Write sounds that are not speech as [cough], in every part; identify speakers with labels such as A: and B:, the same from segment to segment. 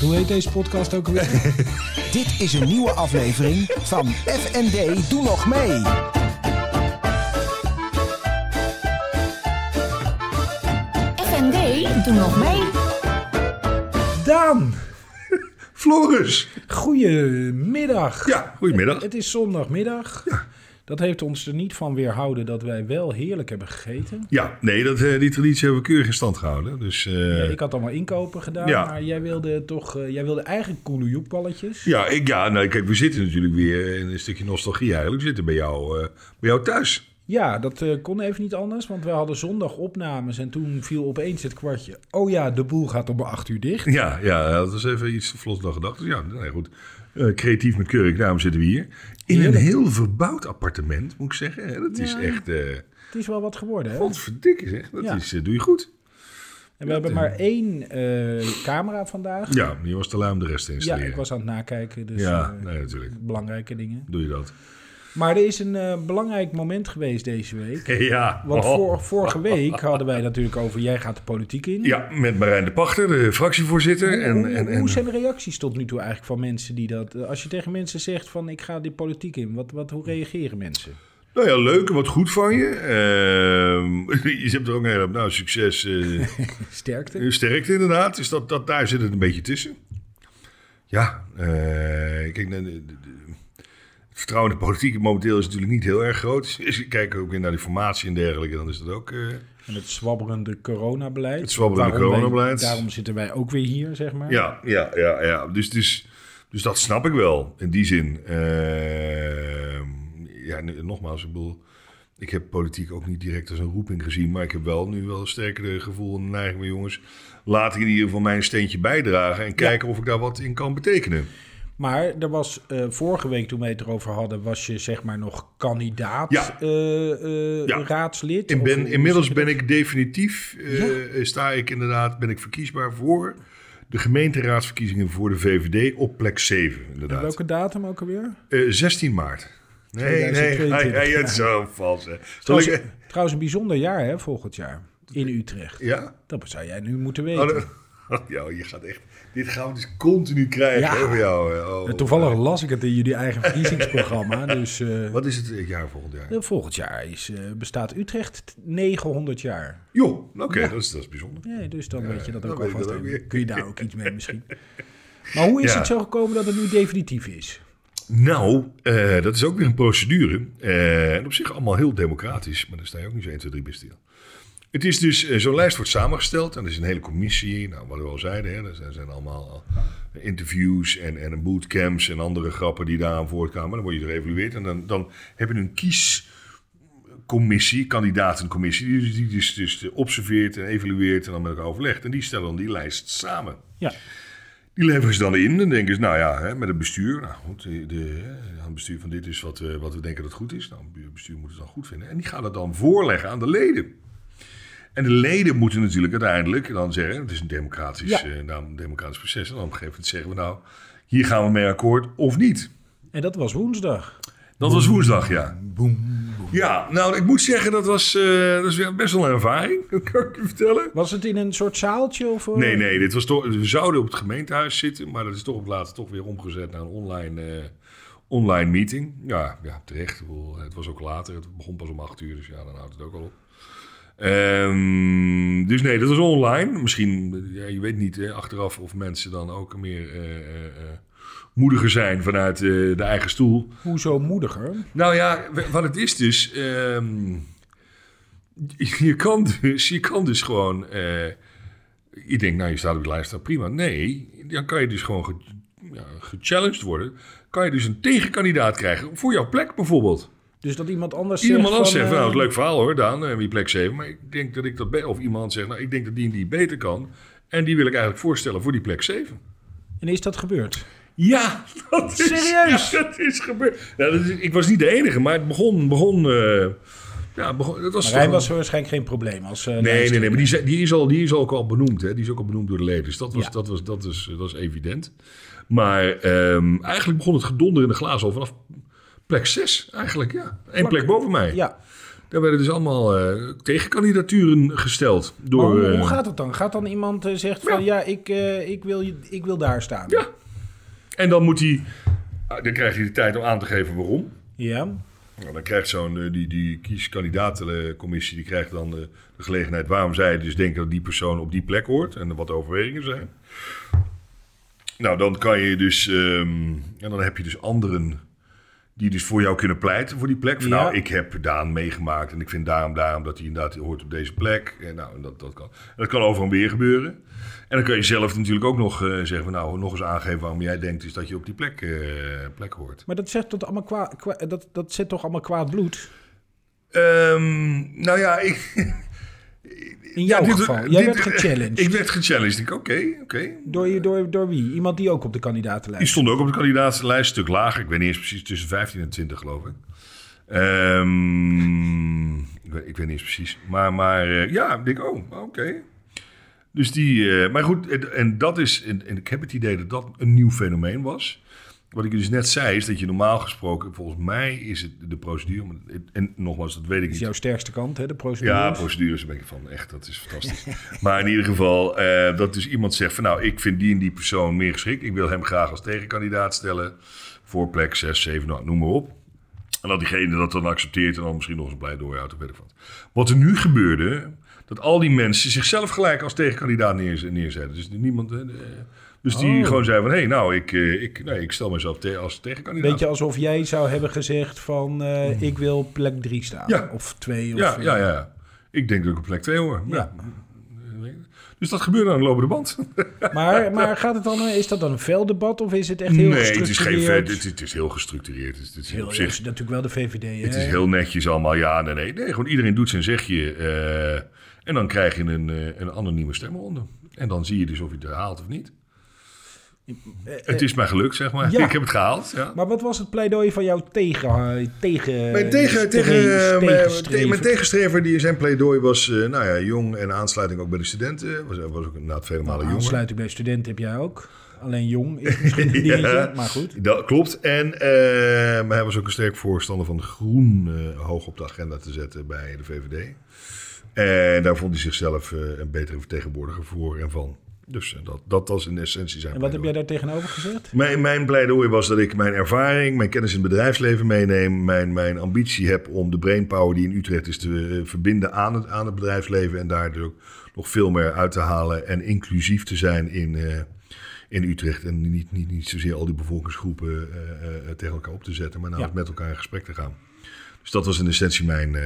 A: Hoe heet deze podcast ook
B: [laughs]
A: alweer?
C: Dit is een nieuwe aflevering van FND Doe Nog Mee.
D: FND, doe nog mee.
A: Daan,
B: Floris.
A: goedemiddag.
B: Ja, goedemiddag.
A: Het is zondagmiddag. Dat heeft ons er niet van weerhouden dat wij wel heerlijk hebben gegeten.
B: Ja, nee, dat, eh, die traditie hebben we keurig in stand gehouden. Dus eh,
A: Ik had allemaal inkopen gedaan,
B: Ja.
A: maar jij wilde toch, eh, jij wilde eigenlijk koele joekballetjes.
B: ja, ik, ja nou, kijk, we zitten natuurlijk weer in een stukje nostalgie eigenlijk. We zitten bij jou, eh, bij jou thuis.
A: Ja, dat eh, kon even niet anders, want we hadden zondag opnames en toen viel opeens het kwartje. Oh ja, de boel gaat om 8 uur dicht.
B: Ja, ja dat was even iets te vlot dan gedacht. Dus ja, nee, goed. Eh, creatief met keurig, daarom zitten we hier. In een heel verbouwd appartement, moet ik zeggen. hè. Dat is echt... eh
A: Het is wel wat geworden, hè?
B: wat verdikke zeg. Dat
A: Ja.
B: is, eh, doe je goed.
A: En we hebben maar één eh, camera vandaag.
B: Ja, je was te lui om de rest te
A: Ja,
B: installeren.
A: ik was aan het nakijken, dus
B: Ja,
A: eh,
B: nee, natuurlijk.
A: belangrijke dingen.
B: Doe je dat.
A: Maar er is een eh, belangrijk moment geweest deze week.
B: [laughs] Ja.
A: Want
B: Oh.
A: vor- vorige week hadden wij natuurlijk over jij gaat de politiek in.
B: Ja, met Marijn de Pachter, de fractievoorzitter.
A: Hoe-
B: En, en, en,
A: Hoe zijn de reacties tot nu toe eigenlijk van mensen die dat... eh, Als je tegen mensen zegt van ik ga die politiek in, wat, wat, hoe reageren mensen? [laughs]
B: Nou ja, leuk en wat goed van je. Ehm, [laughs] je hebt er ook een hele hoop, nou, succes,
A: [laughs]
B: eh,
A: Sterkte?
B: eh, sterkte inderdaad. Dus dat, dat, daar zit het een beetje tussen. Ja, eh, kijk, de- de- de- het vertrouwen in de politiek momenteel is natuurlijk niet heel erg groot. Dus ik kijk ook weer naar die formatie en dergelijke, dan is dat ook... eh,
A: En het zwabberende coronabeleid.
B: Het zwabberende
A: Waarom wij-
B: coronabeleid.
A: daarom zitten wij ook weer hier, zeg maar.
B: ja, ja, ja, ja. Dus, dus, dus dat snap ik wel, in die zin. Ehm, ja, nu- nogmaals, ik bedoel... Ik heb politiek ook niet direct als een roeping gezien, maar ik heb wel nu wel een sterkere gevoel en een neiging van jongens. Laat ik in ieder geval mijn steentje bijdragen en kijken of ik daar wat in kan betekenen.
A: Maar er was eh, vorige week toen wij het erover hadden, was je zeg maar nog kandidaat
B: Ja.
A: eh, eh,
B: Ja.
A: raadslid.
B: Ik
A: Of
B: ben,
A: hoe-
B: inmiddels ben ik definitief, eh, sta ik inderdaad, ben ik verkiesbaar voor de gemeenteraadsverkiezingen voor de VVD op plek 7, inderdaad.
A: Welke datum ook alweer?
B: Eh, 16 maart. Nee, nee,
A: 2022.
B: hij, hij is zo vals. Hè. Zal
A: Trouwens,
B: ik,
A: trouwens een bijzonder jaar hè, volgend jaar in Utrecht.
B: ja?
A: Dat zou jij nu moeten
B: Oh,
A: weten.
B: dat- [laughs] oh, joh, je gaat echt... Dit gaan we dus continu krijgen
A: Ja.
B: hè, voor jou. hè. Oh.
A: En Eh, Toevallig las ik het in jullie eigen verkiezingsprogramma. Dus eh,
B: Wat is het eh, jaar volgend jaar?
A: eh, volgend jaar is, eh, bestaat Utrecht 900 jaar.
B: Joh, oké, dat, is, dat is bijzonder.
A: Nee, dus dan weet je dat
B: dan
A: ook
B: weet ik
A: alvast.
B: dat ook
A: En
B: weer.
A: Kun je daar ook iets mee misschien. Maar hoe is
B: Ja.
A: het zo gekomen dat het nu definitief is?
B: Nou, eh, dat is ook weer een procedure. Eh, en op zich allemaal heel democratisch, maar daar sta je ook niet zo 1, 2, 3 bij stil. Het is dus, eh, zo'n lijst wordt samengesteld en er is een hele commissie. Nou, wat we al zeiden, hè, er zijn, zijn allemaal eh, interviews en, en bootcamps en andere grappen die daaraan voortkwamen. Dan word je geëvalueerd en dan, dan heb je een kiescommissie, kandidatencommissie, die, die dus, dus eh, observeert en evalueert en dan met elkaar overlegt. En die stellen dan die lijst samen.
A: Ja.
B: Die leveren ze dan in en denken ze, nou ja, hè, met het bestuur. Nou goed, de, de- hè, aan het bestuur van dit is wat, we- wat we denken dat goed is. Nou, het bestuur moet het dan goed vinden. En die gaan het dan voorleggen aan de leden. En de leden moeten natuurlijk uiteindelijk dan zeggen, het is een democratisch,
A: Ja.
B: eh, nou, een democratisch proces. En dan op een gegeven moment zeggen we nou, hier gaan we mee akkoord of niet.
A: En dat was woensdag.
B: Dat was woensdag, ja. Ja, nou ik moet zeggen, dat was, eh, dat is weer best wel een ervaring, [laughs] dat kan ik je vertellen.
A: Was het in een soort zaaltje? Of, eh?
B: Nee, nee, dit was toch, we zouden op het gemeentehuis zitten, maar dat is toch op het laatst toch weer omgezet naar een online, eh, online meeting. Ja, ja terecht. Ik bedoel, Het was ook later, het begon pas om acht uur, dus ja, dan houdt het ook al op. Ehm, dus nee, dat was online. Misschien, eh, ja, je weet niet hè, achteraf of mensen dan ook meer eh, eh, eh, moediger zijn vanuit eh, de eigen stoel.
A: Hoezo moediger?
B: Nou ja, w- wat het is dus. ehm, je, kan dus je kan dus gewoon. eh, je denkt, nou, je staat op de lijst, nou, prima. Nee, dan kan je dus gewoon ge, ja, gechallenged worden. Kan je dus een tegenkandidaat krijgen voor jouw plek bijvoorbeeld.
A: Dus dat iemand anders
B: Iemand
A: zegt
B: anders
A: van,
B: zegt,
A: eh,
B: nou, het is een leuk verhaal hoor, Daan, eh, wie plek 7. Maar ik denk dat ik dat be- Of iemand zegt, nou, ik denk dat die en die beter kan. En die wil ik eigenlijk voorstellen voor die plek 7.
A: En is dat gebeurd?
B: Ja, dat is,
A: Serieus?
B: ja, dat is gebeurd. Ja, dat is- ik was niet de enige, maar het begon... begon eh, ja, het begon, dat was
A: Marijn
B: toch-
A: was er waarschijnlijk geen probleem. Als, eh,
B: Nee, nee,
A: lijsttrekker.
B: nee, maar die, zijn- die, is al, die is ook al benoemd. Hè? Die is ook al benoemd door de leden. Dus dat was,
A: Ja.
B: dat was, dat is, eh, dat is evident. Maar ehm, eigenlijk begon het gedonder in de glazen al vanaf plek 6. Eigenlijk, ja. Eén plek boven mij.
A: Ja,
B: Daar werden dus allemaal eh, tegenkandidaturen gesteld door...
A: maar Oh, hoe,
B: eh,
A: hoe gaat het dan? Gaat dan iemand eh, zegt van ja, ik, eh, ik, wil, je- ik wil daar staan?
B: Ja. En dan moet hij... ah, Dan krijgt hij de tijd om aan te geven waarom.
A: Ja.
B: Nou, dan krijgt zo'n eh, die, die kieskandidatencommissie die krijgt dan eh, de, gelegenheid waarom zij dus denken dat die persoon op die plek hoort en wat de overwegingen zijn. Nou, dan kan je dus ehm, en dan heb je dus anderen die dus voor jou kunnen pleiten voor die plek. Van,
A: Ja.
B: Nou, ik heb Daan meegemaakt en ik vind daarom daarom dat hij inderdaad hoort op deze plek. En nou, en dat, dat kan. En dat kan over en weer gebeuren. En dan kan je zelf natuurlijk ook nog eh, zeggen van, nou, nog eens aangeven waarom jij denkt is dat je op die plek, eh, plek hoort.
A: Maar dat, zegt tot allemaal kwa, kwa- dat, dat zet toch allemaal kwaad bloed?
B: Ehm, nou ja, ik,
A: In jouw
B: ja, dit-
A: geval. Jij
B: dit-
A: werd gechallenged.
B: [laughs] Ik werd gechallenged. Ik denk, oké, oké.
A: door, je- door, door wie? Iemand die ook op de
B: Die
A: kandidatenlijst
B: stond ook op de kandidatenlijst, een stuk lager. Ik weet niet eens precies, tussen 15 en 20 geloof ik. Ehm, ik, weet, ik weet niet eens precies. Maar, maar eh, ja, ik denk, oh, oké. Dus die, eh, maar goed, en, en dat is, en, en ik heb het idee dat dat een nieuw fenomeen was. Wat ik dus net zei, is dat je normaal gesproken, volgens mij is het de procedure, maar het- en nogmaals, dat weet ik
A: is
B: niet.
A: jouw sterkste kant, hè, de procedure.
B: Ja, procedures daar ben ik van. Echt, dat is fantastisch. [laughs] maar in ieder geval, eh, dat dus iemand zegt van... nou, ik vind die en die persoon meer geschikt. Ik wil hem graag als tegenkandidaat stellen. Voor plek 6, 7, nou, noem maar op. En dat diegene dat dan accepteert... en dan misschien nog eens blij doorhoudt of weet ik wat. Wat er nu gebeurde... dat al die mensen zichzelf gelijk als tegenkandidaat neer, neerzetten. Dus niemand... eh, eh, dus die
A: Oh.
B: gewoon zei van... hé, hey, nou, ik, eh, ik, nee, ik stel mezelf te- als tegenkandidaat.
A: Beetje alsof jij zou hebben gezegd van eh, ik wil op plek 3 staan.
B: Mm. Ja.
A: Of 2. Of, eh.
B: Ja, ja, ja. Ik denk dat ik op plek 2 hoor.
A: Ja.
B: Ja. Dus dat gebeurde aan de lopende band.
A: Maar, maar gaat het dan, eh, is dat dan een velddebat of is het echt heel
B: [laughs] nee, het is, geen,
A: gestructureerd?
B: vet. het, is, het is heel gestructureerd. Het is, het is
A: heel,
B: op
A: ja,
B: zich,
A: is natuurlijk wel de VVD.
B: het
A: hè?
B: is heel netjes allemaal. Ja, nee, nee. nee gewoon iedereen doet zijn zegje. eh, en dan krijg je een, eh, een anonieme stemronde. En dan zie je dus of je het haalt of niet.
A: Eh, eh,
B: het is mij gelukt, zeg maar.
A: ja.
B: Ik heb het gehaald. Ja.
A: Maar wat was het pleidooi van jou tegen... eh, dus tegen
B: Mijn, tegen,
A: streef-
B: tegen, eh, mijn,
A: tegenstreven?
B: te- mijn tegenstrever die zijn pleidooi was eh, nou ja, jong en aansluiting ook bij de studenten. Was, was ook inderdaad vele
A: Ah,
B: malen jonger.
A: Aansluiting bij studenten heb jij ook. Alleen jong is misschien een
B: [laughs] Ja.
A: dingetje, maar goed.
B: Dat klopt. En eh, maar hij was ook een sterk voorstander van groen eh, hoog op de agenda te zetten bij de VVD. En daar vond hij zichzelf eh, een betere vertegenwoordiger voor en van. Dus eh, dat, dat was in essentie zijn
A: En wat heb jij
B: pleidooi.
A: daar tegenover gezegd?
B: Mijn, mijn pleidooi was dat ik mijn ervaring, mijn kennis in het bedrijfsleven meeneem. Mijn, mijn ambitie heb om de brainpower die in Utrecht is te eh, verbinden aan het, aan het bedrijfsleven. En daar dus ook nog veel meer uit te halen en inclusief te zijn in, eh, in Utrecht. En niet, niet, niet zozeer al die bevolkingsgroepen eh, eh, tegen elkaar op te zetten, maar namelijk
A: Ja.
B: met elkaar in gesprek te gaan. Dus dat was in essentie mijn. eh,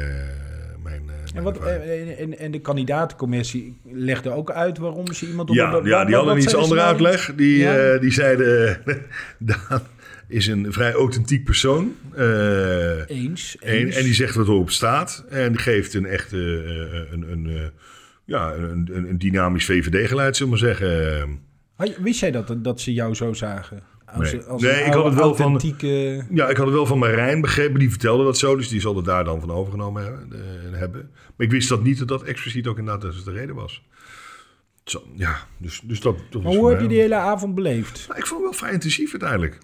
B: mijn, eh,
A: En,
B: mijn
A: wat,
B: ervaring.
A: eh, en, en de kandidatencommissie legde ook uit waarom ze iemand op
B: Ja,
A: op-
B: ja
A: wat-
B: die hadden
A: wat nou?
B: een iets
A: zijn de
B: andere
A: scenario's?
B: uitleg. Die,
A: Ja.
B: eh, die zeiden, [laughs] Daan is een vrij authentiek persoon. Eh,
A: Eens.
B: en,
A: eens.
B: en die zegt wat erop staat. En die geeft een echte, eh, een, een, eh, ja, een, een, een dynamisch VVD-geluid, zullen we maar zeggen.
A: Had je- Wist jij dat, dat ze jou zo zagen? Als,
B: Nee.
A: als
B: Nee,
A: een
B: ik had het wel van-
A: authentieke-
B: Ja, ik had het wel van Marijn begrepen. Die vertelde dat zo, dus die zal het daar dan van overgenomen hebben. eh, hebben. Maar ik wist dat niet, dat dat expliciet ook inderdaad dus de reden was. Zo, ja, dus, dus dat... dat
A: Maar hoe
B: is voor
A: heb je
B: mij-
A: die hele avond beleefd?
B: Nou, ik vond het wel vrij intensief uiteindelijk.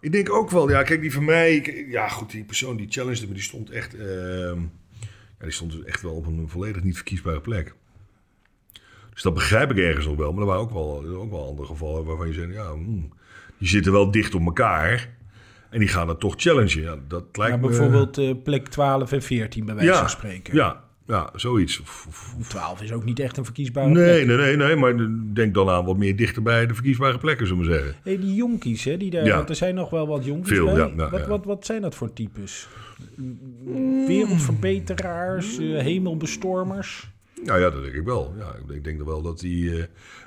B: Ik denk ook wel, ja, kijk, die van mij. ik- Ja, goed, die persoon die challenged me, die stond echt. ehm, ja, die stond dus echt wel op een volledig niet verkiesbare plek. Dus dat begrijp ik ergens nog wel. Maar er waren ook wel, ook wel andere gevallen waarvan je zegt, ja, hmm, die zitten wel dicht op elkaar. En die gaan het toch challengen. Ja, dat lijkt
A: Ja,
B: me.
A: bijvoorbeeld eh, plek 12 en 14 bij wijze
B: ja,
A: van spreken.
B: Ja, ja, zoiets. Of- of-
A: 12 is ook niet echt een verkiesbare
B: Nee,
A: plek.
B: nee, nee, nee, maar denk dan aan wat meer dichter bij de verkiesbare plekken, zullen we maar zeggen.
A: Hey, die jonkies, hè, die daar,
B: Ja.
A: want er zijn nog wel wat jonkies
B: Veel,
A: bij.
B: ja, ja,
A: wat,
B: ja.
A: Wat, wat zijn dat voor types? Wereldverbeteraars, eh, hemelbestormers?
B: Nou Ja, ja, dat denk ik wel. Ja, ik denk- ik denk wel dat die eh,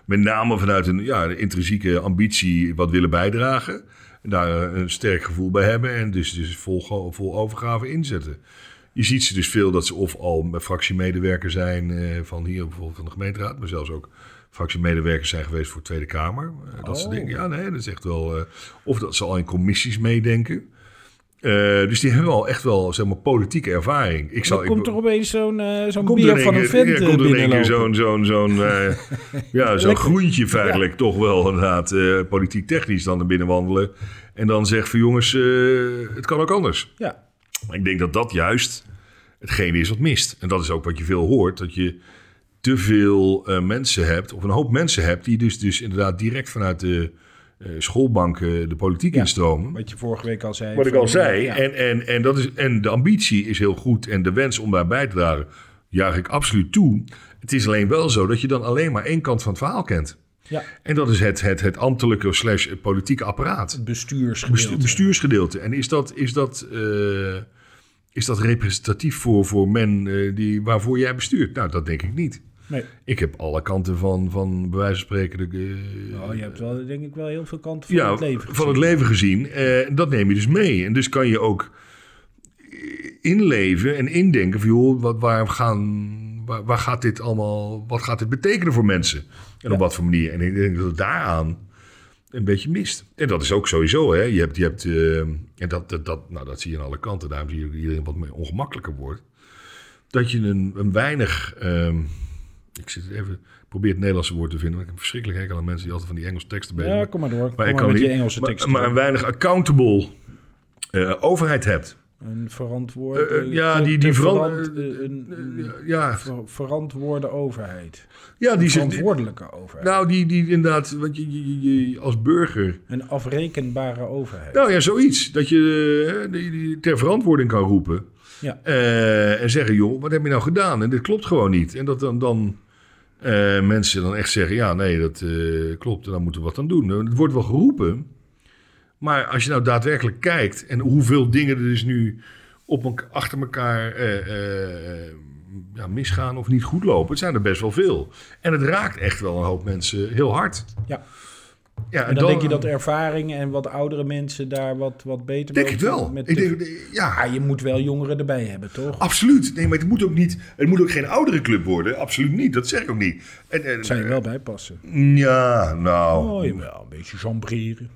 B: met name vanuit een ja, een intrinsieke ambitie wat willen bijdragen. En daar eh, een sterk gevoel bij hebben en dus, dus vol, go- vol overgave inzetten. Je ziet ze dus veel dat ze of al fractiemedewerker zijn eh, van hier bijvoorbeeld van de gemeenteraad, maar zelfs ook fractiemedewerkers zijn geweest voor de Tweede Kamer. Eh, dat soort
A: Oh.
B: dingen. Ja, nee, dat is echt wel. eh, of dat ze al in commissies meedenken. Eh, dus die hebben al echt wel zeg maar, politieke ervaring. Ik
A: Dan
B: zal, ik,
A: komt er opeens zo'n eh, zo'n
B: Komt
A: beer
B: er
A: van
B: in
A: een
B: één
A: vent
B: keer-
A: eh,
B: ja, komt er in één keer
A: binnenlopen.
B: zo'n zo'n
A: [laughs]
B: zo'n eh, ja, zo'n
A: Lekker.
B: groentje feitelijk toch wel inderdaad eh, politiek technisch dan naar binnen wandelen. En dan zegt van jongens, eh, het kan ook anders.
A: Ja,
B: Maar ik denk dat dat juist hetgene is wat mist. En dat is ook wat je veel hoort, dat je te veel eh, mensen hebt, of een hoop mensen hebt, die dus, dus inderdaad direct vanuit de eh, schoolbanken de politiek
A: Ja.
B: instromen.
A: Wat je vorige week al zei.
B: Wat ik
A: van- eh,
B: al zei.
A: ja.
B: En, en, en, dat is, en de ambitie is heel goed. En de wens om daar bij te dragen, juich ik absoluut toe. Het is alleen wel zo dat je dan alleen maar één kant van het verhaal kent.
A: Ja,
B: En dat is het, het, het ambtelijke slash politieke apparaat.
A: het bestuursgedeelte.
B: Bestu- bestuursgedeelte. En is dat, is dat, eh, is dat representatief voor, voor men eh, die, waarvoor jij bestuurt? Nou, dat denk ik niet.
A: Nee.
B: Ik heb alle kanten van, van bij wijze van spreken... de, eh,
A: Oh, je hebt wel, denk ik wel heel veel kanten van
B: ja,
A: het leven.
B: van het leven gezien. Eh, dat neem je dus mee. En dus kan je ook inleven en indenken van... joh, wat, waar, gaan, waar, waar gaat dit allemaal... wat gaat dit betekenen voor mensen? En op wat voor manier? En ik denk dat het daaraan een beetje mist. En dat is ook sowieso, hè. Je hebt... Je hebt eh, en dat, dat, dat, nou, dat zie je aan alle kanten. Daarom zie je ook dat iedereen wat meer ongemakkelijker wordt. Dat je een, een weinig... ehm, ik zit even, ik probeer het Nederlandse woord te vinden. Want ik heb verschrikkelijk hekel aan mensen die altijd van die Engelse teksten bezig
A: Ja,
B: zijn
A: kom maar door. Kom
B: maar,
A: maar,
B: ik kan
A: met
B: niet,
A: je Engelse
B: maar-
A: teksten.
B: maar, een weinig accountable eh, overheid hebt.
A: een verantwoord...
B: Eh, eh,
A: eh,
B: ja,
A: te-
B: die-
A: te
B: die veran-
A: verant- eh, een- een
B: Ja,
A: ver- verantwoorde overheid.
B: ja die zit.
A: verantwoordelijke overheid.
B: Nou, die, die inderdaad, want je, je- je, je als burger.
A: een afrekenbare overheid.
B: Nou ja, zoiets. Dat je eh, die, die ter verantwoording kan roepen.
A: Ja.
B: Eh, en zeggen, joh, wat heb je nou gedaan? En dit klopt gewoon niet. En dat dan, dan eh, mensen dan echt zeggen, ja, nee, dat eh, klopt. En dan moeten we wat aan doen. Nou, Het wordt wel geroepen. Maar als je nou daadwerkelijk kijkt en hoeveel dingen er dus nu op elk- achter elkaar eh, eh, eh, ja, misgaan of niet goed lopen. Het zijn er best wel veel. En het raakt echt wel een hoop mensen heel hard.
A: Ja.
B: Ja,
A: en dan, denk je dat ervaring en wat oudere mensen daar wat, wat beter
B: Denk
A: mee
B: het wel.
A: met
B: ik
A: de-
B: denk, eh, Ah. ja,
A: Ah, je moet wel jongeren erbij hebben, toch?
B: Absoluut. Nee, maar het moet ook niet. Het moet ook geen oudere club worden. Absoluut niet. Dat zeg ik ook niet. En, en,
A: Zijn er wel bij passen.
B: Ja, nou. Eh,
A: Oh, jawel, een beetje chambreren.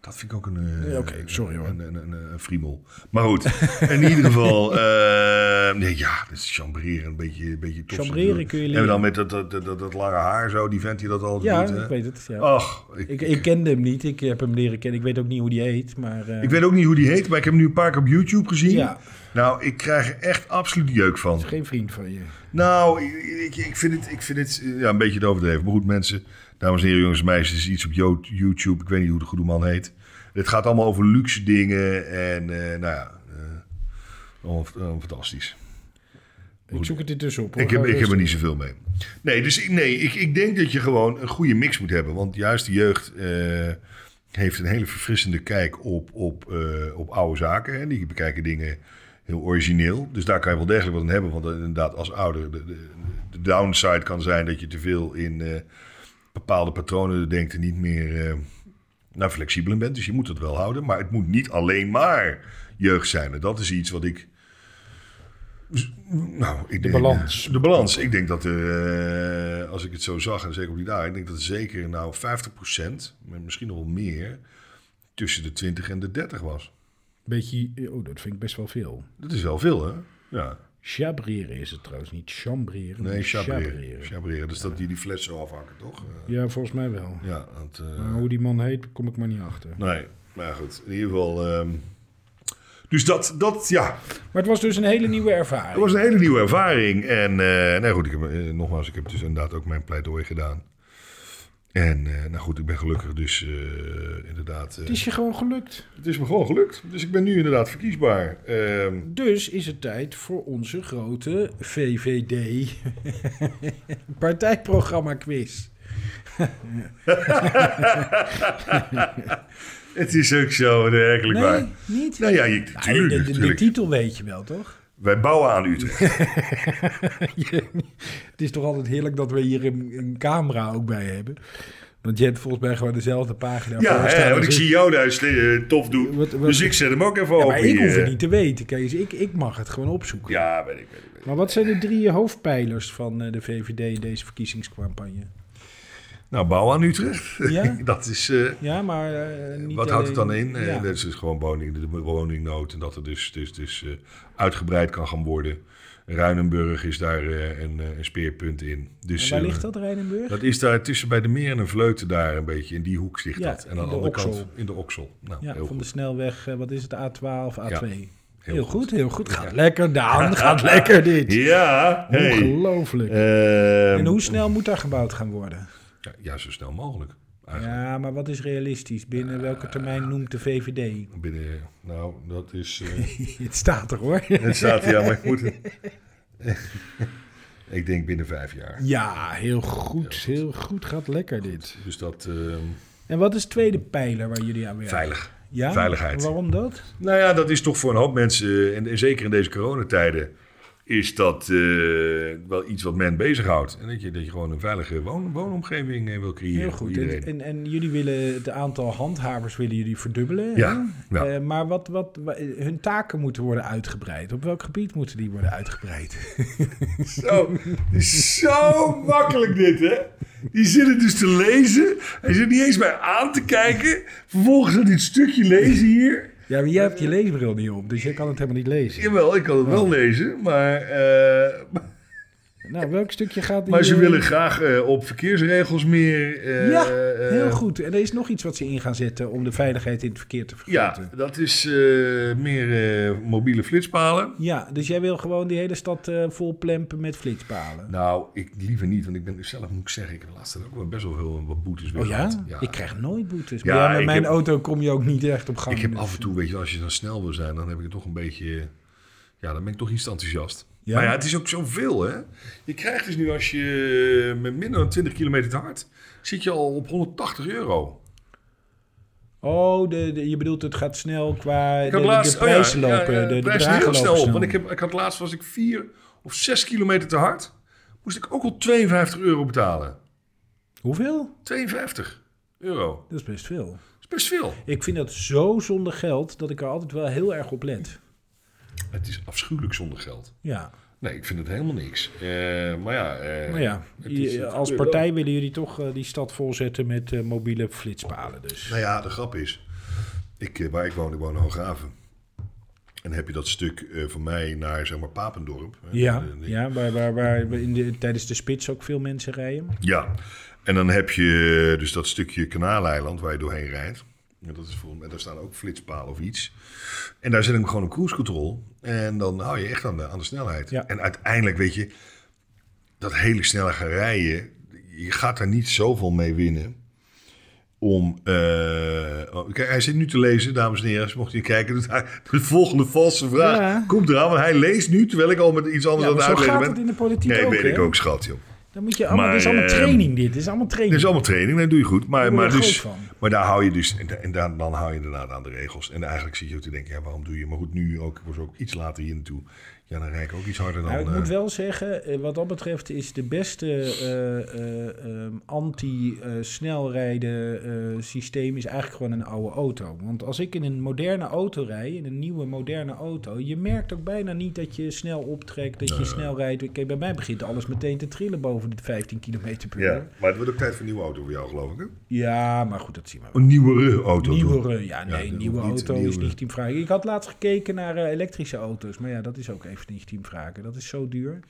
B: Dat vind ik ook een. eh,
A: Ja, oké, sorry, hoor.
B: Een, een, een, een friemel. Maar goed, in ieder
A: [laughs]
B: geval. eh, nee, ja, dat is chambreren. Een beetje. Een beetje tofse
A: Chambreren
B: bedoel.
A: kun je
B: En
A: leren.
B: dan met dat, dat, dat, dat, dat lange haar zo, die vent die dat al
A: Ja,
B: doet. hè? Ah.
A: ik weet het. Ja.
B: Ach,
A: ik, ik kende hem niet, ik heb hem leren kennen. Ik weet ook niet hoe die heet, maar... eh,
B: ik weet ook niet hoe die heet, maar ik heb hem nu een paar keer op YouTube gezien.
A: Ja.
B: Nou, ik krijg er echt absoluut jeuk van.
A: Geen vriend van je.
B: Nou, ik, ik vind het, ik vind het eh, ja, een beetje te overdreven. Maar goed, mensen, dames en heren, jongens en meisjes, er is iets op Jo- YouTube. Ik weet niet hoe de goede man heet. Het gaat allemaal over luxe dingen en eh, nou ja, eh, allemaal f- allemaal fantastisch.
A: Ik zoek het intussen op. hoor.
B: Ik heb,
A: Ga
B: ik heb er
A: rustig.
B: niet zoveel mee. Nee, dus ik- nee, ik, ik denk dat je gewoon een goede mix moet hebben. Want juist de jeugd eh, heeft een hele verfrissende kijk op, op, eh, op oude zaken. Hè. Die bekijken dingen heel origineel. Dus daar kan je wel degelijk wat aan hebben. Want eh, inderdaad, als ouder, de, de, de downside kan zijn dat je te veel in eh, bepaalde patronen denkt en niet meer eh, nou, flexibel in bent. Dus je moet het wel houden. Maar het moet niet alleen maar jeugd zijn. En dat is iets wat ik. Nou, ik denk,
A: balans.
B: De balans. Ik denk dat, eh, als ik het zo zag, en zeker op die dagen, ik denk dat zeker nou 50%, maar misschien nog wel meer, tussen de 20 en de 30 was.
A: Beetje, oh, dat vind ik best wel veel.
B: Dat is wel veel, hè? Ja.
A: Chabreren is het trouwens, niet chambreren.
B: Nee,
A: maar
B: chabreren. Chabreren. Dus dat die die fles zo afhakken, toch? Eh,
A: Ja, volgens mij wel.
B: Ja, dat... eh,
A: Maar hoe die man heet, kom ik maar niet achter.
B: Nee, maar goed. In ieder geval... ehm, dus dat, dat, ja,
A: Maar het was dus een hele nieuwe
B: Het
A: ervaring.
B: was een hele nieuwe ervaring. En eh, nou goed, ik heb, eh, nogmaals, ik heb dus inderdaad ook mijn pleidooi gedaan. En eh, nou goed, ik ben gelukkig dus eh, inderdaad... eh,
A: Het is je gewoon gelukt.
B: het is me gewoon gelukt. Dus ik ben nu inderdaad verkiesbaar. Ehm,
A: Dus is het tijd voor onze grote VVD [laughs] partijprogramma quiz.
B: het is ook zo, werkelijk waar.
A: Nee, niet.
B: Nou ja, je,
A: Nee,
B: tuurlijk,
A: de, de- de
B: tuurlijk.
A: titel weet je wel, toch? [laughs]
B: Wij bouwen aan Utrecht.
A: Het is toch altijd heerlijk dat we hier een, een camera ook bij hebben. Want je hebt volgens mij gewoon dezelfde pagina.
B: ja,
A: voor
B: hè,
A: staan
B: want
A: als
B: ik zie jou daar eh, tof doen.
A: Wat- wat-
B: dus ik zet hem ook even
A: Ja,
B: op
A: maar ik hoef
B: hier.
A: het niet te weten, Kees. Ik, ik mag het gewoon opzoeken.
B: Ja, weet ik, weet ik. weet ik.
A: Maar wat zijn de drie hoofdpijlers van eh, de VVD in deze
B: [laughs]
A: verkiezingscampagne?
B: Nou, bouwen aan Utrecht.
A: Ja?
B: [laughs] dat is... eh,
A: Ja, maar eh, niet
B: Wat houdt het dan
A: alleen-
B: in? Eh,
A: Ja.
B: Dat is dus gewoon woning, de woningnood en dat er dus, dus, dus eh, uitgebreid kan gaan worden. Ruinenburg is daar eh, een, eh, een speerpunt in. Dus,
A: En waar
B: eh,
A: ligt dat, Rijnenburg?
B: Dat is daar tussen bij de meer en een vleuten daar een beetje. In die hoek ligt
A: Ja,
B: dat. En
A: in
B: aan de
A: de
B: andere
A: Oksel.
B: kant in de oksel. Nou,
A: ja,
B: heel
A: van de
B: goed.
A: snelweg, eh, wat is het, A12, A2. Heel, goed. heel goed. Gaat lekker,
B: [laughs]
A: Daan. Gaat lekker dit.
B: Ja, hey.
A: Ongelooflijk.
B: Ehm,
A: en hoe snel moet daar gebouwd gaan worden?
B: ja, ja, zo snel mogelijk. Eigenlijk Eh,
A: Ja, maar wat is realistisch? Binnen welke termijn noemt de [laughs] VVD?
B: binnen, nou, dat
A: [laughs]
B: is... eh,
A: Het staat er hoor.
B: het staat, ja, maar ik moet... [laughs] ik denk binnen vijf jaar.
A: Ja, heel goed. Heel goed. Gaat lekker dit.
B: Dus dat... ehm,
A: En wat is de tweede pijler waar jullie aan werken?
B: veilig.
A: Ja?
B: Veiligheid.
A: Waarom dat?
B: Nou ja, dat is toch voor een hoop mensen, en, en zeker in deze coronatijden, is dat eh, wel iets wat men bezighoudt. En dat je, dat je gewoon een veilige woon, woonomgeving eh, wil creëren.
A: Heel
B: voor
A: goed.
B: iedereen.
A: En, en, en jullie willen het aantal handhavers willen jullie verdubbelen.
B: Ja,
A: hè?
B: ja.
A: Eh, maar wat, wat, wa- hun taken moeten worden uitgebreid. Op welk gebied moeten die worden
B: [laughs]
A: uitgebreid?
B: Zo, het is zo makkelijk dit, hè? Die zit het dus te lezen. Hij zit niet eens bij aan te kijken. Vervolgens gaat dit stukje lezen hier.
A: Ja, maar jij hebt je leesbril niet op, dus jij kan het helemaal niet lezen.
B: Jawel, ik kan het
A: Oh.
B: wel lezen, maar... eh,
A: Nou, welk stukje gaat die...
B: maar ze
A: eh,
B: willen graag eh, op verkeersregels meer. eh,
A: Ja,
B: eh,
A: heel goed. En er is nog iets wat ze in gaan zetten om de veiligheid in het verkeer te
B: Ja,
A: vergroten.
B: dat is eh, meer eh, mobiele flitspalen.
A: Ja, dus jij wil gewoon die hele stad eh, vol plempen met flitspalen.
B: Nou, ik liever niet, want ik ben zelf, moet ik zeggen, ik heb laatst ook wel best wel heel wat boetes weer
A: Oh ja?
B: gehad.
A: Ik krijg nooit boetes.
B: Ja,
A: Maar ja, met
B: ik
A: mijn
B: heb-
A: auto kom je ook niet echt op gang.
B: Ik heb
A: dus-
B: af en toe, weet je, wel, als je dan snel wil zijn, dan heb ik het toch een beetje. Ja, dan ben ik toch iets te enthousiast.
A: Ja?
B: Maar ja, het is ook zoveel, hè? Je krijgt dus nu als je met minder dan 20 kilometer te hard zit je al op 180 euro.
A: Oh, de, de- je bedoelt het gaat snel qua
B: Ik
A: de, de
B: oh ja,
A: prijzen
B: ja,
A: lopen.
B: ja,
A: de, de
B: prijzen
A: bedragen
B: heel
A: lopen
B: snel op. Want ik, heb, ik had laatst was ik 4 of 6 kilometer te hard, moest ik ook al 52 euro betalen.
A: Hoeveel?
B: 52 euro.
A: Dat is best veel.
B: Dat is best veel.
A: Ik vind dat zo zonder geld dat ik er altijd wel heel erg op let.
B: Het is afschuwelijk zonder geld.
A: Ja,
B: Nee, ik vind het helemaal niks. Eh, maar ja, eh,
A: maar ja,
B: het is-
A: je-
B: het
A: als
B: gebeurt
A: partij willen jullie toch eh, die stad volzetten met eh, mobiele flitspalen dus.
B: Nou ja, de grap is, ik, eh, waar ik woon, ik woon in Hooghaven. En heb je dat stuk eh, van mij naar, zeg maar, Papendorp. hè,
A: Ja,
B: de- de-
A: ja waar, waar, waar we in de, tijdens de spits ook veel mensen rijden.
B: ja. En dan heb je eh, dus dat stukje Kanaaleiland waar je doorheen rijdt. En dat is voor, en daar staan ook flitspalen of iets. En daar zet ik gewoon een cruise control. En dan hou je echt aan de, aan de snelheid.
A: Ja.
B: En uiteindelijk, weet je, dat hele snelle gaan rijden, je gaat daar niet zoveel mee winnen. Om. eh, oh, kijk, hij zit nu te lezen, dames en heren. Als mocht je kijken, [laughs] dus hij- de volgende valse vraag
A: Ja.
B: komt eraan. Want hij leest nu, terwijl ik al met iets anders
A: Ja,
B: aan
A: maar
B: het
A: zo
B: uitleggen
A: gaat
B: ben.
A: het in de politiek
B: Nee,
A: ook.
B: weet
A: hè?
B: ik ook, schat, joh.
A: Dan moet je allemaal, dit is
B: Maar,
A: allemaal
B: eh,
A: training dit. Dit is allemaal
B: Dat
A: training.
B: is allemaal training, dat doe je goed. Maar,
A: Daar word
B: maar,
A: je
B: dus,
A: groot van.
B: maar daar hou je dus. En, da- en dan, dan hou je inderdaad aan de regels. En eigenlijk zit je ook te denken: ja, waarom doe je? Maar goed, nu ook, ik was ook iets later hier naartoe. Ja, dan rijd ik ook iets harder dan.
A: Nou, ik moet
B: eh,
A: wel zeggen, eh, wat dat betreft is de beste eh, eh, ehm, anti-snelrijden eh, systeem is eigenlijk gewoon een oude auto. Want als ik in een moderne auto rij, in een nieuwe moderne auto, je merkt ook bijna niet dat je snel optrekt, dat je snel rijdt. Kijk, bij mij begint alles meteen te trillen boven de 15 km per uur.
B: ja,
A: Ja,
B: maar het wordt ook tijd voor een nieuwe auto voor jou, geloof ik. Hè?
A: maar goed, dat zien we wel.
B: Een nieuwere auto. toch?
A: Nieuwere, ja,
B: dat
A: nee,
B: hoeft
A: nieuwe
B: niet,
A: auto is
B: nieuwe.
A: niet team vragen. Ik had laatst gekeken naar eh, elektrische auto's, maar ja, dat is ook even niet team vragen. Dat is zo duur.
B: Ja,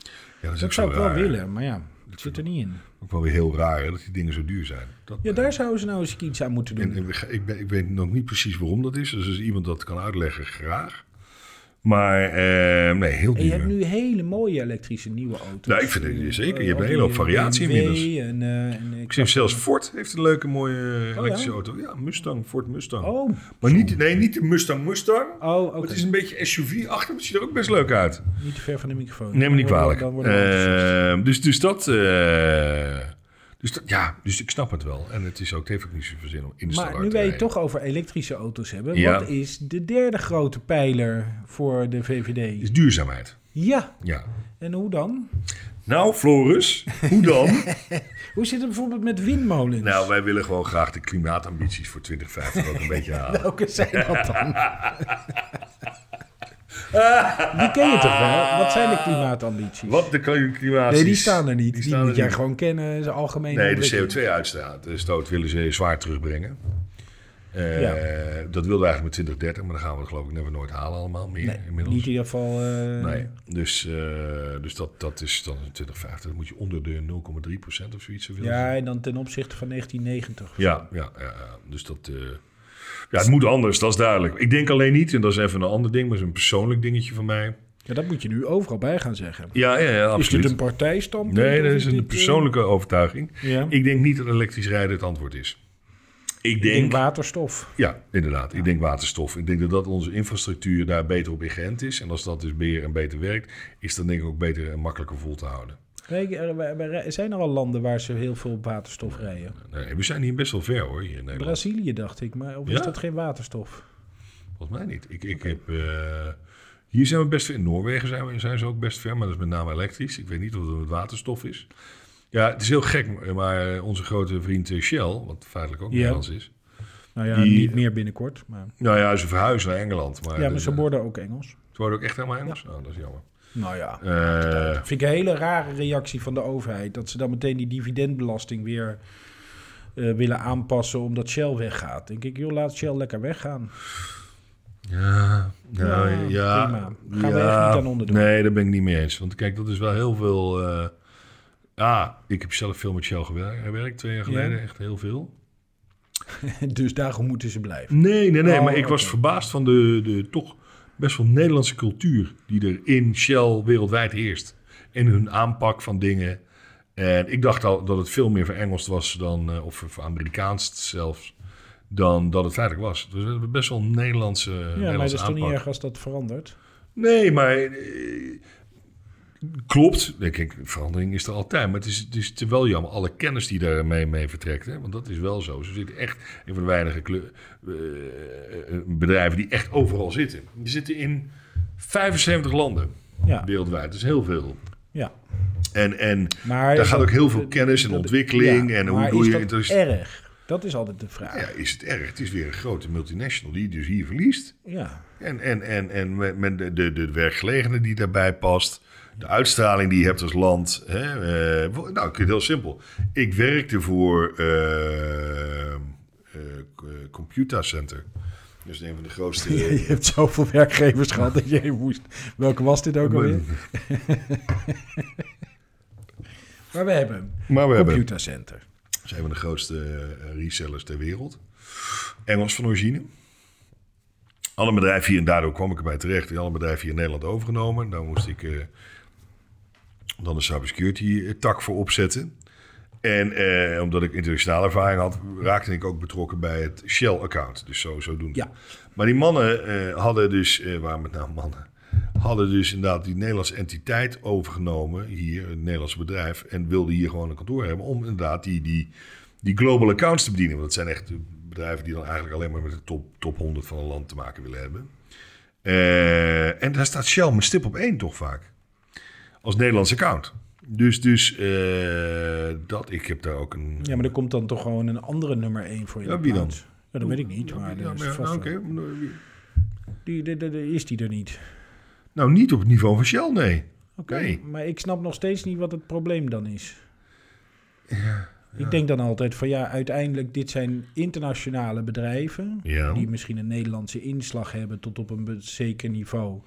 B: dat is ook
A: Dat
B: zo
A: zou ik wel
B: raar.
A: willen, maar ja, het zit er niet in.
B: Ook wel weer heel raar hè, dat die dingen zo duur zijn. Dat,
A: Ja, daar zouden ze nou eens iets aan moeten
B: En,
A: doen.
B: en we ga- ik, ben, ik weet nog niet precies waarom dat is. Dus als iemand dat kan uitleggen, graag. Maar eh, nee,
A: En
B: heel duur.
A: je hebt nu hele mooie elektrische nieuwe auto's.
B: Nou, ik vind het
A: Eh,
B: zeker. Je hebt
A: al
B: een hele hoop
A: die
B: variatie
A: BMW
B: inmiddels.
A: En, eh, en, eh,
B: Ik zie zelfs Ford heeft een leuke mooie elektrische
A: Oh ja?
B: auto. Ja, Mustang, Ford Mustang.
A: Oh,
B: Maar niet, nee, niet de Mustang Mustang. Maar
A: oh oké.
B: Het is een beetje SUV-achtig, maar het ziet er ook best leuk uit.
A: Niet te ver van de microfoon.
B: Neem me niet
A: Dan worden-
B: kwalijk.
A: dan worden we enthousiast.
B: Eh, dus, dus dat... eh, dus dat, ja, dus ik snap het wel. En het, is ook, het heeft ook niet zoveel zin om in de stad
A: maar
B: uit
A: nu
B: te
A: wij het
B: rijden.
A: toch over elektrische auto's hebben.
B: Ja.
A: Wat is de derde grote pijler voor de VVD?
B: is duurzaamheid.
A: Ja,
B: Ja.
A: en hoe dan?
B: Nou, Floris, hoe
A: [laughs]
B: dan? [laughs]
A: Hoe zit het bijvoorbeeld met windmolens?
B: nou, wij willen gewoon graag de klimaatambities voor 2050 ook een beetje
A: [laughs]
B: halen.
A: Welke zijn dat
B: [laughs]
A: dan? Die ken je toch wel? Wat zijn de klimaatambities?
B: Wat de klimaatambities...
A: Nee, die staan er niet. Die,
B: staan
A: moet
B: er
A: jij
B: niet.
A: gewoon kennen, zijn algemene
B: Nee, de
A: ontwikkeling.
B: CO2-uitstoot willen ze zwaar terugbrengen. Eh,
A: Ja.
B: Dat wilden we eigenlijk met 2030, maar dan gaan we het geloof ik never nooit halen allemaal meer inmiddels.
A: Niet in ieder geval... eh,
B: Nee, dus, eh, dus dat, dat is dan 2050. Dan moet je onder de 0,3% of zoiets. zoveel
A: Ja,
B: zijn.
A: en dan ten opzichte van 1990.
B: Ja, ja, ja, ja. Dus dat... eh, Ja, het moet anders, dat is duidelijk. Ik denk alleen niet, en dat is even een ander ding, maar dat is een persoonlijk dingetje van mij.
A: Ja, dat moet je nu overal bij gaan zeggen.
B: Ja, ja, ja
A: Is dit
B: absoluut.
A: een partijstandpunt?
B: Nee,
A: of
B: dat is
A: dit,
B: een
A: eh,
B: persoonlijke overtuiging.
A: Ja.
B: Ik denk niet dat elektrisch rijden het antwoord is. Ik
A: Ik denk
B: denk,
A: waterstof.
B: ja, inderdaad. Ik denk waterstof. Ik denk dat, dat onze infrastructuur daar beter op ingeënt is. En als dat dus meer en beter werkt, is dat denk ik ook beter en makkelijker vol te houden.
A: Kijk, er- er- er- er zijn er al landen waar ze heel veel op waterstof rijden?
B: Nee, we zijn hier best wel ver hoor, hier in Nederland.
A: Brazilië, dacht ik. Maar of is
B: Ja?
A: dat geen waterstof?
B: Volgens mij niet. Ik, ik heb, eh, hier zijn we best ver. In Noorwegen zijn, we, zijn ze ook best ver, maar dat is met name elektrisch. Ik weet niet of het met waterstof is. Ja, het is heel gek, maar onze grote vriend eh, Shell, wat feitelijk ook
A: Ja.
B: Nederlands is.
A: Nou ja,
B: Die-
A: niet meer binnenkort. Maar...
B: Nou ja, ze verhuizen naar Engeland. Maar
A: Ja, maar
B: dus,
A: ze
B: eh,
A: worden ook Engels.
B: ze worden ook echt helemaal Engels? Oh, dat is jammer.
A: Nou ja.
B: Eh,
A: Vind ik een hele rare reactie van de overheid. Dat ze dan meteen die dividendbelasting weer eh, willen aanpassen omdat Shell weggaat. Denk ik, joh, laat Shell lekker weggaan. [laughs]
B: ja, nou,
A: Ja,
B: ja,
A: prima. Gaan we echt niet aan onderdoen.
B: Nee, daar ben ik niet mee eens. Want kijk, dat is wel heel veel... eh, ah, ik heb zelf veel met Shell gewer- gewerkt, twee jaar
A: Ja.
B: geleden. Echt heel veel.
A: dus daarom moeten ze blijven.
B: Nee, nee, nee.
A: Oh,
B: maar ik was
A: oké.
B: verbaasd van de, de toch best wel Nederlandse cultuur die er in Shell wereldwijd heerst. En hun aanpak van dingen. En ik dacht al dat het veel meer verengeld was dan, eh, of voor Amerikaans zelfs, dan dat het feitelijk was. Dus we hebben best wel een Nederlandse,
A: Ja, maar dat
B: Nederlandse
A: is toch
B: aanpak.
A: niet erg als dat verandert?
B: Nee, maar eh, klopt. Nee, Kijk, verandering is er altijd. Maar het is, het is te wel jammer. Alle kennis die daarmee mee vertrekt. Hè? Want dat is wel zo. Ze zitten echt een van de weinige kleu- eh, eh, bedrijven die echt overal zitten. Die zitten in 75 landen
A: Ja,
B: wereldwijd. Dat is heel veel.
A: ja.
B: En, en
A: Maar
B: daar gaat ook heel veel
A: dat-
B: kennis en
A: dat-
B: ontwikkeling.
A: ja,
B: en
A: maar
B: hoe doe
A: is
B: je
A: dat
B: het? Dat is-
A: erg? Dat is altijd de vraag.
B: Ja, is het erg? Het is weer een grote multinational die dus hier verliest.
A: ja.
B: [laughs] En, en, en, en met, met de, de, de werkgelegenheid die daarbij past. De uitstraling die je hebt als land. Hè, eh, wo- nou, ik vind het heel simpel. Ik werkte voor eh, eh, c- Computer Center. Dat is een van de
A: [laughs]
B: grootste... eh,
A: Je hebt zoveel werkgevers gehad dat je heen moest. Welke was dit ook alweer? [laughs] maar we hebben hem.
B: Maar we hebben...
A: Computercenter.
B: Dat is een van de grootste eh, resellers ter wereld. Engels van origine. Alle bedrijven hier, en daardoor kwam ik erbij terecht, die alle bedrijven hier in Nederland overgenomen. Daar moest ik eh, dan een cybersecurity eh, tak voor opzetten. En eh, omdat ik internationale ervaring had, raakte ik ook betrokken bij het Shell-account. Dus zo, zo doen.
A: Ja.
B: Maar die mannen eh, hadden dus, eh waren met name mannen, hadden dus inderdaad die Nederlandse entiteit overgenomen, hier, een Nederlands bedrijf, en wilden hier gewoon een kantoor hebben om inderdaad die, die, die global accounts te bedienen. Want dat zijn echt bedrijven die dan eigenlijk alleen maar met de top, top 100 van een land te maken willen hebben. Eh, en daar staat Shell met stip op één toch vaak. Als Nederlands account. Dus, dus eh, dat, ik heb daar ook een...
A: Ja, maar er komt dan toch gewoon een andere nummer 1 voor je.
B: Ja, wie dan?
A: plaats. Ja, dat weet ik niet. Maar
B: Ja,
A: dat is
B: maar ja,
A: vast
B: nou,
A: wel-
B: oké.
A: die, die- die- die- is die er niet.
B: nou, niet op het niveau van Shell, nee.
A: Oké.
B: Nee.
A: Maar ik snap nog steeds niet wat het probleem dan is. Ik denk dan altijd van ja, uiteindelijk, dit zijn internationale bedrijven.
B: Ja.
A: Die misschien een Nederlandse inslag hebben tot op een be- zeker niveau.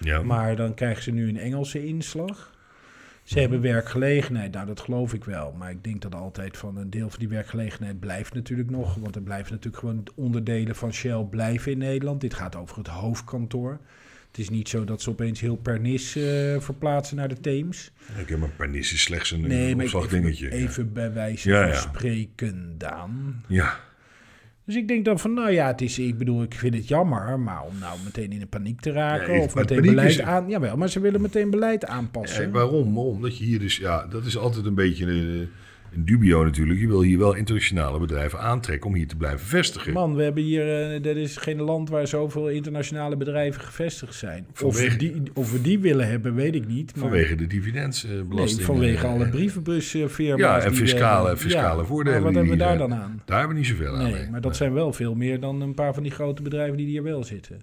B: Ja.
A: Maar dan krijgen ze nu een Engelse inslag.
B: Mhm.
A: Ze hebben werkgelegenheid, nou dat geloof ik wel. Maar ik denk dat altijd van een deel van die werkgelegenheid blijft natuurlijk nog. Want er blijven natuurlijk gewoon onderdelen van Shell blijven in Nederland. Dit gaat over het hoofdkantoor. Het is niet zo dat ze opeens heel Pernis eh, verplaatsen naar de Theems.
B: Ik heb een pernis is slechts een
A: Nee,
B: een
A: maar ik-
B: opslagdingetje.
A: even, even bij wijze
B: Ja,
A: van
B: ja.
A: spreken, Daan.
B: Ja.
A: Dus ik denk dan van, nou ja, het is, ik bedoel, ik vind het jammer, maar om nou meteen in de paniek te raken
B: Nee,
A: of
B: maar
A: meteen
B: paniek
A: beleid
B: is er.
A: aan, jawel, maar ze willen meteen beleid
B: Ja.
A: aanpassen.
B: Eh, waarom? Omdat je hier dus, ja, dat is altijd een beetje een, eh, een dubio natuurlijk. Je wil hier wel internationale bedrijven aantrekken om hier te blijven vestigen.
A: Man, we hebben hier, eh, er is geen land waar zoveel internationale bedrijven gevestigd zijn. Of we,
B: Vanwege-
A: die, of we die willen hebben, weet ik niet. Maar
B: vanwege de dividendsbelasting.
A: eh, nee, vanwege alle brievenbusfirma's.
B: eh, Ja, en
A: die we
B: fiscale,
A: hebben.
B: fiscale
A: Ja,
B: voordelen.
A: Maar wat
B: die
A: hebben we daar
B: hier- eh, nou,
A: dan aan?
B: Daar hebben we niet zoveel aan.
A: Nee, maar dat zijn wel veel meer dan een paar van die grote bedrijven die hier wel zitten.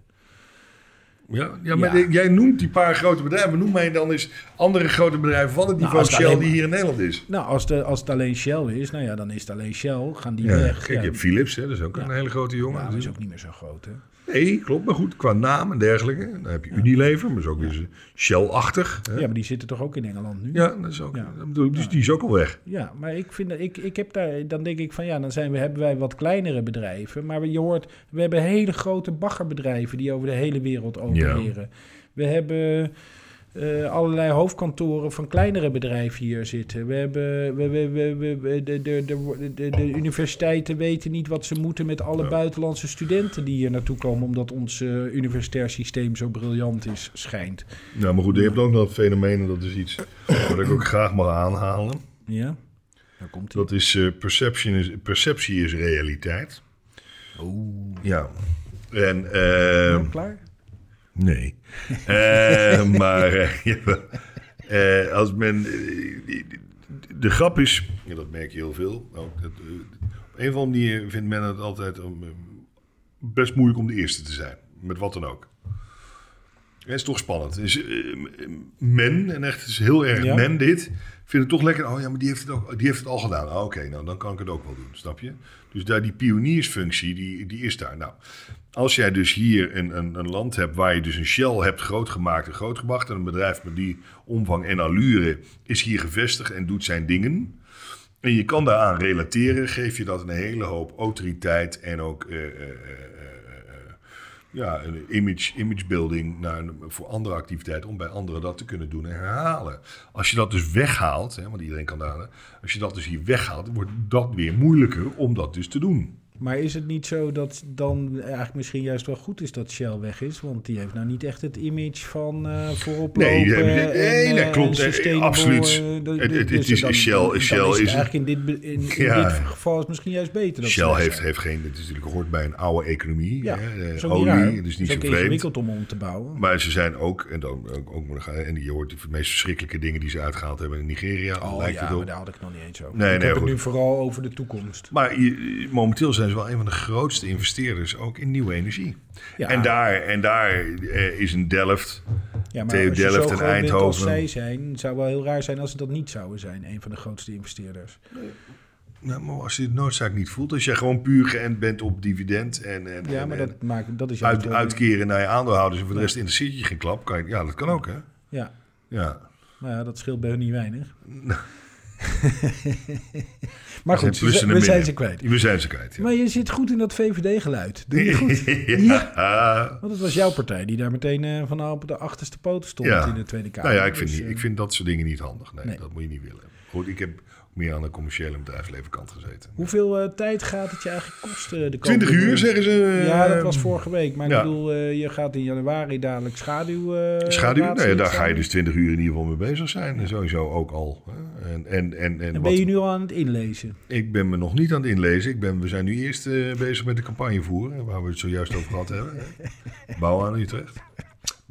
B: Ja, ja, maar
A: Ja.
B: de- jij noemt die paar grote bedrijven. Noem mij dan eens andere grote bedrijven van het
A: Nou,
B: niveau
A: als het
B: Shell
A: alleen
B: die hier in Nederland is.
A: Nou, als, de, als het alleen Shell is, nou ja, dan is het alleen Shell. Gaan die
B: Ja,
A: weg.
B: kijk, je
A: ja,
B: hebt Philips, hè, dat is ook een hele grote jongen.
A: nou,
B: Dat
A: dat is
B: is-
A: ook niet meer zo groot, hè?
E: Nee, klopt. Maar goed, qua naam en dergelijke. Dan heb je Unilever, maar is ook weer Shell-achtig. hè.
A: Ja, maar die zitten toch ook in Engeland nu?
E: Ja, dat is ook.
A: Ja.
E: dat bedoel ik, dus die is ook al weg.
A: Ja, maar ik vind dat ik, ik heb daar, dan denk ik van ja, dan zijn we, hebben wij wat kleinere bedrijven. Maar je hoort, we hebben hele grote baggerbedrijven die over de hele wereld opereren. We hebben eh, allerlei hoofdkantoren van kleinere bedrijven hier zitten. We hebben we, we, we, we- we- de, de, de, de, de universiteiten weten niet wat ze moeten met alle
E: Ja.
A: buitenlandse studenten die hier naartoe komen, omdat ons eh, universitair systeem zo briljant is, schijnt.
E: Nou, maar goed, je hebt ook nog dat fenomeen, en dat is iets wat ik ook graag mag aanhalen.
A: Ja, daar komt ie.
E: Dat is, eh, perception is perceptie is realiteit.
B: Oh.
A: Oeh,
E: Ja. En, ehm,
A: Nou, klaar?
E: Nee. [laughs] Eh, maar eh, [laughs] jawel. Eh, als men. eh, De grap is. Ja, dat merk je heel veel.
B: Nou,
E: Ook dat, eh, op een van die manier vindt men het altijd om, eh, best moeilijk om de eerste te zijn. Met wat dan ook. Het is toch spannend. Het Is, eh, men, en echt het is heel erg
A: Ja.
E: men dit, vindt het toch lekker. Oh ja, maar die heeft het, ook, die heeft het al gedaan. Ah, Oké, nou dan kan ik het ook wel doen, snap je? Dus daar die pioniersfunctie, die, die is daar. Nou, als jij dus hier een, een, een land hebt waar je dus een Shell hebt grootgemaakt en grootgebracht... en een bedrijf met die omvang en allure is hier gevestigd en doet zijn dingen... En je kan daaraan relateren, geef je dat een hele hoop autoriteit en ook eh, eh, eh, eh, eh, ja, een image, image building naar, een- voor andere activiteiten om bij anderen dat te kunnen doen en herhalen. Als je dat dus weghaalt, hè, want iedereen kan daar, als je dat dus hier weghaalt, wordt dat weer moeilijker om dat dus te doen.
A: Maar is het niet zo dat dan eigenlijk misschien juist wel goed is dat Shell weg is? Want die heeft nou niet echt het image van eh voorop
E: Nee,
A: lopen
E: nee,
A: en,
E: nee,
A: eh,
E: dat klopt.
A: en
E: Eh,
A: sustainable,
E: absoluut.
A: eh, de- de-
E: Het- het-
A: dus
E: het is-
A: dan-
E: Shell-
A: dan is
E: Shell
A: het
E: is een-
A: eigenlijk in dit, be- in, in
E: Ja.
A: dit geval is het misschien juist beter. Dat ze
E: Shell
A: weg
E: heeft,
A: zijn.
E: heeft geen, het is natuurlijk hoort bij een oude economie,
A: ja,
E: hè, eh,
A: is ook niet raar.
E: olie, dus niet
A: is
E: zo
A: ook
E: vreemd.
A: ingewikkeld om om te bouwen.
E: Maar ze zijn ook, en dan ook, ook nog- en je hoort de meest verschrikkelijke dingen die ze uitgehaald hebben in Nigeria.
A: oh
E: lijkt
A: ja,
E: het
A: maar
E: op.
A: daar had ik nog niet eens over.
E: Nee,
A: ik
E: nee,
A: heb
E: goed.
A: het nu vooral over de toekomst.
E: Maar je- momenteel zijn ze wel een van de grootste investeerders ook in nieuwe energie.
A: Ja.
E: En daar, en daar eh, is een Delft.
A: Ja, maar
E: Theo
A: als je
E: Delft
A: zo groot
E: en
A: bent als
E: Eindhoven.
A: zij zijn, zou wel heel raar zijn als ze dat niet zouden zijn. Een van de grootste investeerders.
E: Nou, maar als je de noodzaak niet voelt, als jij gewoon puur geënt bent op dividend en, en,
A: Ja,
E: en-
A: maar
E: en
A: dat, maakt, dat is juist
E: uit,
A: wel-
E: uitkeren naar je aandeelhouders en voor de rest interesseert je geen klap, kan je, ja, dat kan ook, hè?
A: Ja,
E: Ja.
A: Nou ja, dat scheelt bij hun niet
E: [laughs]
A: weinig. maar goed,
E: Zijn
A: we, zijn-
E: plussen en
A: we zijn
E: minnen.
A: ze kwijt.
E: We zijn ze kwijt. Ja.
A: Maar je zit goed in dat VVD-geluid. Doe je
E: [laughs]
A: goed. Ja. Want het was jouw partij die daar meteen eh, van op de achterste poten stond
E: Ja.
A: in de Tweede Kamer.
E: Nou ja, ik vind,
A: Dus,
E: niet,
A: eh,
E: ik vind dat soort dingen niet handig. Nee,
A: Nee.
E: dat moet je niet willen. Goed, ik heb meer aan de commerciële bedrijfsleven kant gezeten.
A: Hoeveel eh, tijd gaat het je eigenlijk kosten? eh, De komende
E: 20 uur zeggen ze. eh,
A: Ja, dat was vorige week. Maar
E: ja.
A: ik bedoel, eh, je gaat in januari dadelijk schaduw... eh,
E: Schaduw, nou ja,
A: raadslid
E: daar
A: zijn.
E: ga je dus 20 uur in ieder geval mee bezig zijn. En sowieso ook al. hè. En, en, en, en
A: En
E: wat,
A: ben je nu al aan het inlezen?
E: ik ben me nog niet aan het inlezen. Ik ben, we zijn nu eerst eh, bezig met de campagne voeren, waar we het zojuist over gehad hebben.
A: [laughs]
E: hè. Bouwen aan Utrecht.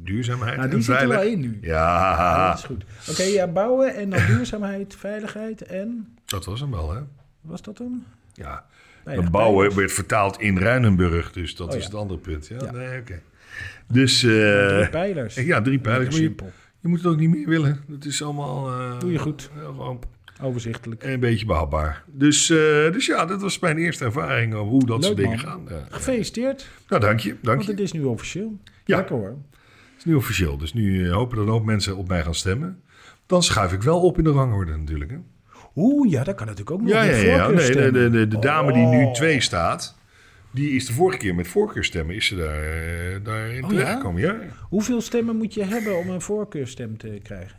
E: Duurzaamheid
A: Nou, die
E: en
A: zit er wel
E: veilig.
A: in nu. Ja,
E: Ja,
A: dat is goed. Oké, ja, bouwen en
E: [laughs]
A: dan duurzaamheid, veiligheid en...
E: dat was hem wel, hè?
A: Was dat hem?
E: Ja.
A: Nee,
E: Dat
A: ja,
E: bouwen werd vertaald in Ruinenburg, dus dat
A: Oh,
E: is
A: ja.
E: het andere punt. Ja,
A: Ja.
E: Nee, oké. Dus
A: Drie
E: eh
A: pijlers.
E: ja, drie pijlers. Maar je,
A: Simpel.
E: je moet het ook niet meer willen. Dat is allemaal. eh,
A: Doe je goed.
E: eh, gewoon
A: Overzichtelijk.
E: een beetje behapbaar. Dus, eh, dus ja, dat was mijn eerste ervaring over hoe dat
A: Leuk,
E: soort dingen
A: man.
E: gaan. Ja.
A: Gefeliciteerd,
E: Nou, dank je. Dank
A: want
E: je.
A: het is nu officieel.
E: Ja.
A: Lekker hoor.
E: Het is nu officieel. Dus nu eh, hopen dat een hoop mensen op mij gaan stemmen. Dan schuif ik wel op in de rangorde natuurlijk. Hè?
A: Oeh, ja, dat kan natuurlijk ook nog.
E: Ja, ja,
A: met
E: ja. ja. Nee, de,
A: voorkeurstemmen.
E: de, de, de dame die
A: Oh.
E: nu twee staat, die is de vorige keer met voorkeurstemmen is ze daar, eh, daarin
A: Oh, ja?
E: terechtgekomen. Ja?
A: Hoeveel stemmen moet je hebben om een voorkeurstem te krijgen?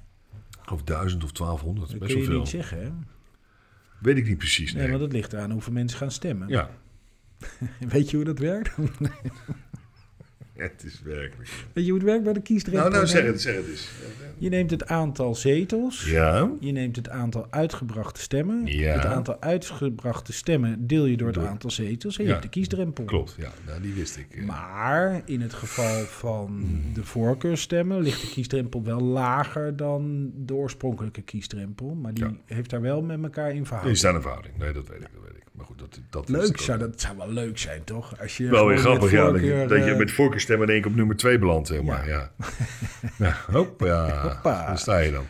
E: Of duizend of 1200,
A: Dat
E: best
A: kun
E: wel
A: je
E: veel.
A: niet zeggen, hè? Nee,
E: Weet ik niet precies. Nee.
A: want het ligt eraan hoeveel mensen gaan stemmen.
E: Ja,
A: [laughs] Weet je hoe dat werkt?
E: het is werkelijk.
A: Weet je hoe het werkt bij de kiesdrempel?
E: Nou, nou, zeg het, zeg het eens.
A: Je neemt het aantal zetels.
E: Ja,
A: Je neemt het aantal uitgebrachte stemmen.
E: Ja.
A: Het aantal uitgebrachte stemmen deel je door het aantal zetels. En je
E: Ja.
A: hebt de kiesdrempel.
E: klopt. Ja, nou, die wist ik. eh.
A: Maar in het geval van de voorkeurstemmen ligt de kiesdrempel wel lager dan de oorspronkelijke kiesdrempel. Maar die
E: Ja.
A: heeft daar wel met elkaar in
E: Er is
A: verhouding.
E: daar een verhouding. Nee, dat weet ik, dat weet ik. Maar goed, dat, dat wist ik
A: Leuk
E: ook.
A: zou dat zou wel leuk zijn, toch? Als je
E: Wel weer
A: gewoon
E: grappig,
A: met
E: ja. Dat je,
A: voorkeur,
E: dat je
A: eh,
E: met voorkeurstemmen in één keer op nummer twee belandt, zeg maar. Ja.
A: [laughs]
E: ja. hop, ja.
A: Hoppa.
E: Daar sta je dan.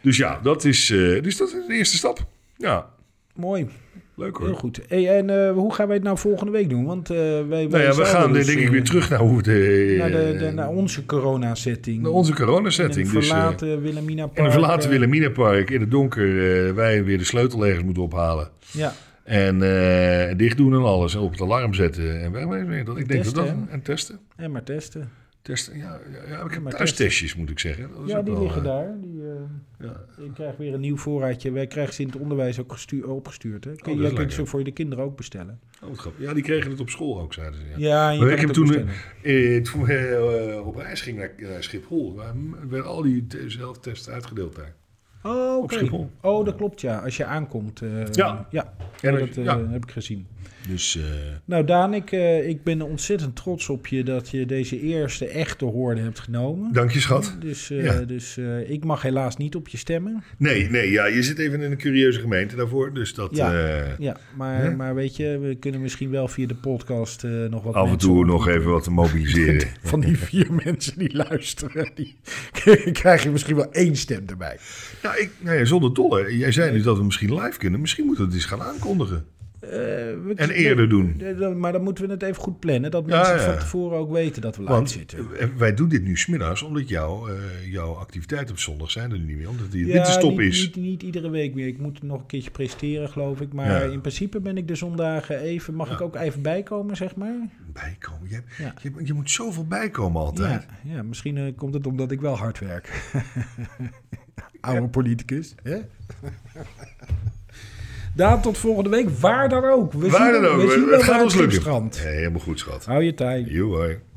E: Dus ja, dat is, eh, dus dat is de eerste stap. Ja,
A: Mooi.
E: Leuk hoor.
A: Heel goed. Hey, en eh, hoe gaan wij het nou volgende week doen? Want eh, wij, wij
E: Nou ja, we
A: zouden
E: gaan
A: dus,
E: denk ik
A: eh,
E: weer terug naar, hoe de,
A: naar, de, de- naar onze corona-setting.
E: naar onze
A: In
E: coronasetting.
A: een
E: Dus, eh,
A: verlaten Wilhelmina Park.
E: in een verlaten
A: eh,
E: Willeminepark, in het donker, eh, wij weer de sleutel ergens moeten ophalen.
A: Ja,
E: En eh dicht doen en alles. En op het alarm zetten. En wegwezen weer. Dat, ik denk
A: testen,
E: dat dat...
A: hè?
E: En testen.
A: en maar testen.
E: Testen, ja. ja, ja ik heb
A: maar
E: thuistestjes, moet ik zeggen. Dat is
A: Ja,
E: ook
A: die
E: wel,
A: liggen
E: eh,
A: daar. Die, eh,
E: ja.
A: Ik krijg weer een nieuw voorraadje. Wij krijgen ze in het onderwijs ook gestuur- opgestuurd. Hè? Kun,
E: Oh, dat is
A: jij kunt
E: lekker.
A: ze voor de kinderen ook bestellen.
E: Oh, wat grappig. Ja, die kregen het op school ook, zeiden ze. Ja.
A: Ja, en je
E: Maar
A: kan
E: ik
A: het
E: heb
A: ook
E: toen,
A: bestellen.
E: eh, eh, toen we eh, op reis gingen naar, naar Schiphol, waar m- werden al die te- zelftests uitgedeeld daar.
A: Oh,
E: Op
A: oké.
E: Schiphol.
A: Oh, dat klopt, ja. Als je aankomt. eh,
E: Ja.
A: Ja,
E: Ja,
A: dat eh,
E: ja.
A: heb ik gezien.
E: Dus eh,
A: Nou, Daan, ik, eh, ik ben ontzettend trots op je dat je deze eerste echte hoorde hebt genomen.
E: dank je, schat.
A: Dus, eh,
E: Ja.
A: dus eh, ik mag helaas niet op je stemmen.
E: Nee, nee, ja, je zit even in een curieuze gemeente daarvoor. Dus dat
A: Ja.
E: eh,
A: Ja, maar,
E: Hè?
A: maar weet je, we kunnen misschien wel via de podcast eh, nog wat
E: af en
A: mensen
E: toe
A: op-
E: nog even wat te mobiliseren.
A: [laughs] Van die vier mensen die luisteren, die [laughs] krijg je misschien wel één stem erbij.
E: ja, ik, nee, zonder dolle. Jij zei nu dat we misschien live kunnen. Misschien moeten we het eens gaan aankondigen.
A: Eh,
E: En eerder doen.
A: Maar dan moeten we het even goed plannen, dat
E: Ja,
A: mensen
E: ja.
A: van tevoren ook weten dat we live
E: Want
A: zitten.
E: eh, wij doen dit nu smiddags, omdat jouw, eh, jouw activiteiten op zondag zijn er nu niet meer. Omdat die
A: Ja,
E: winterstop
A: niet,
E: is.
A: Niet, niet iedere week meer. Ik moet nog een keertje presteren, geloof ik. Maar
E: Ja.
A: in principe ben ik de zondagen even. Mag ik ook even bijkomen, zeg maar?
E: Bijkomen. Je, hebt-
A: Ja.
E: je, je moet zoveel bijkomen altijd.
A: Ja, ja, misschien eh, komt het omdat ik wel hard werk. [laughs] Oude politicus. Hè? Daan, tot volgende week. Waar dan ook. We
E: Waar
A: zien,
E: dan ook.
A: We zien
E: Het
A: wel
E: gaat
A: waar
E: ons
A: het schip
E: lukken.
A: strandt.
E: Hey, helemaal goed, schat.
A: Hou je tijd.
E: Joe, hoi.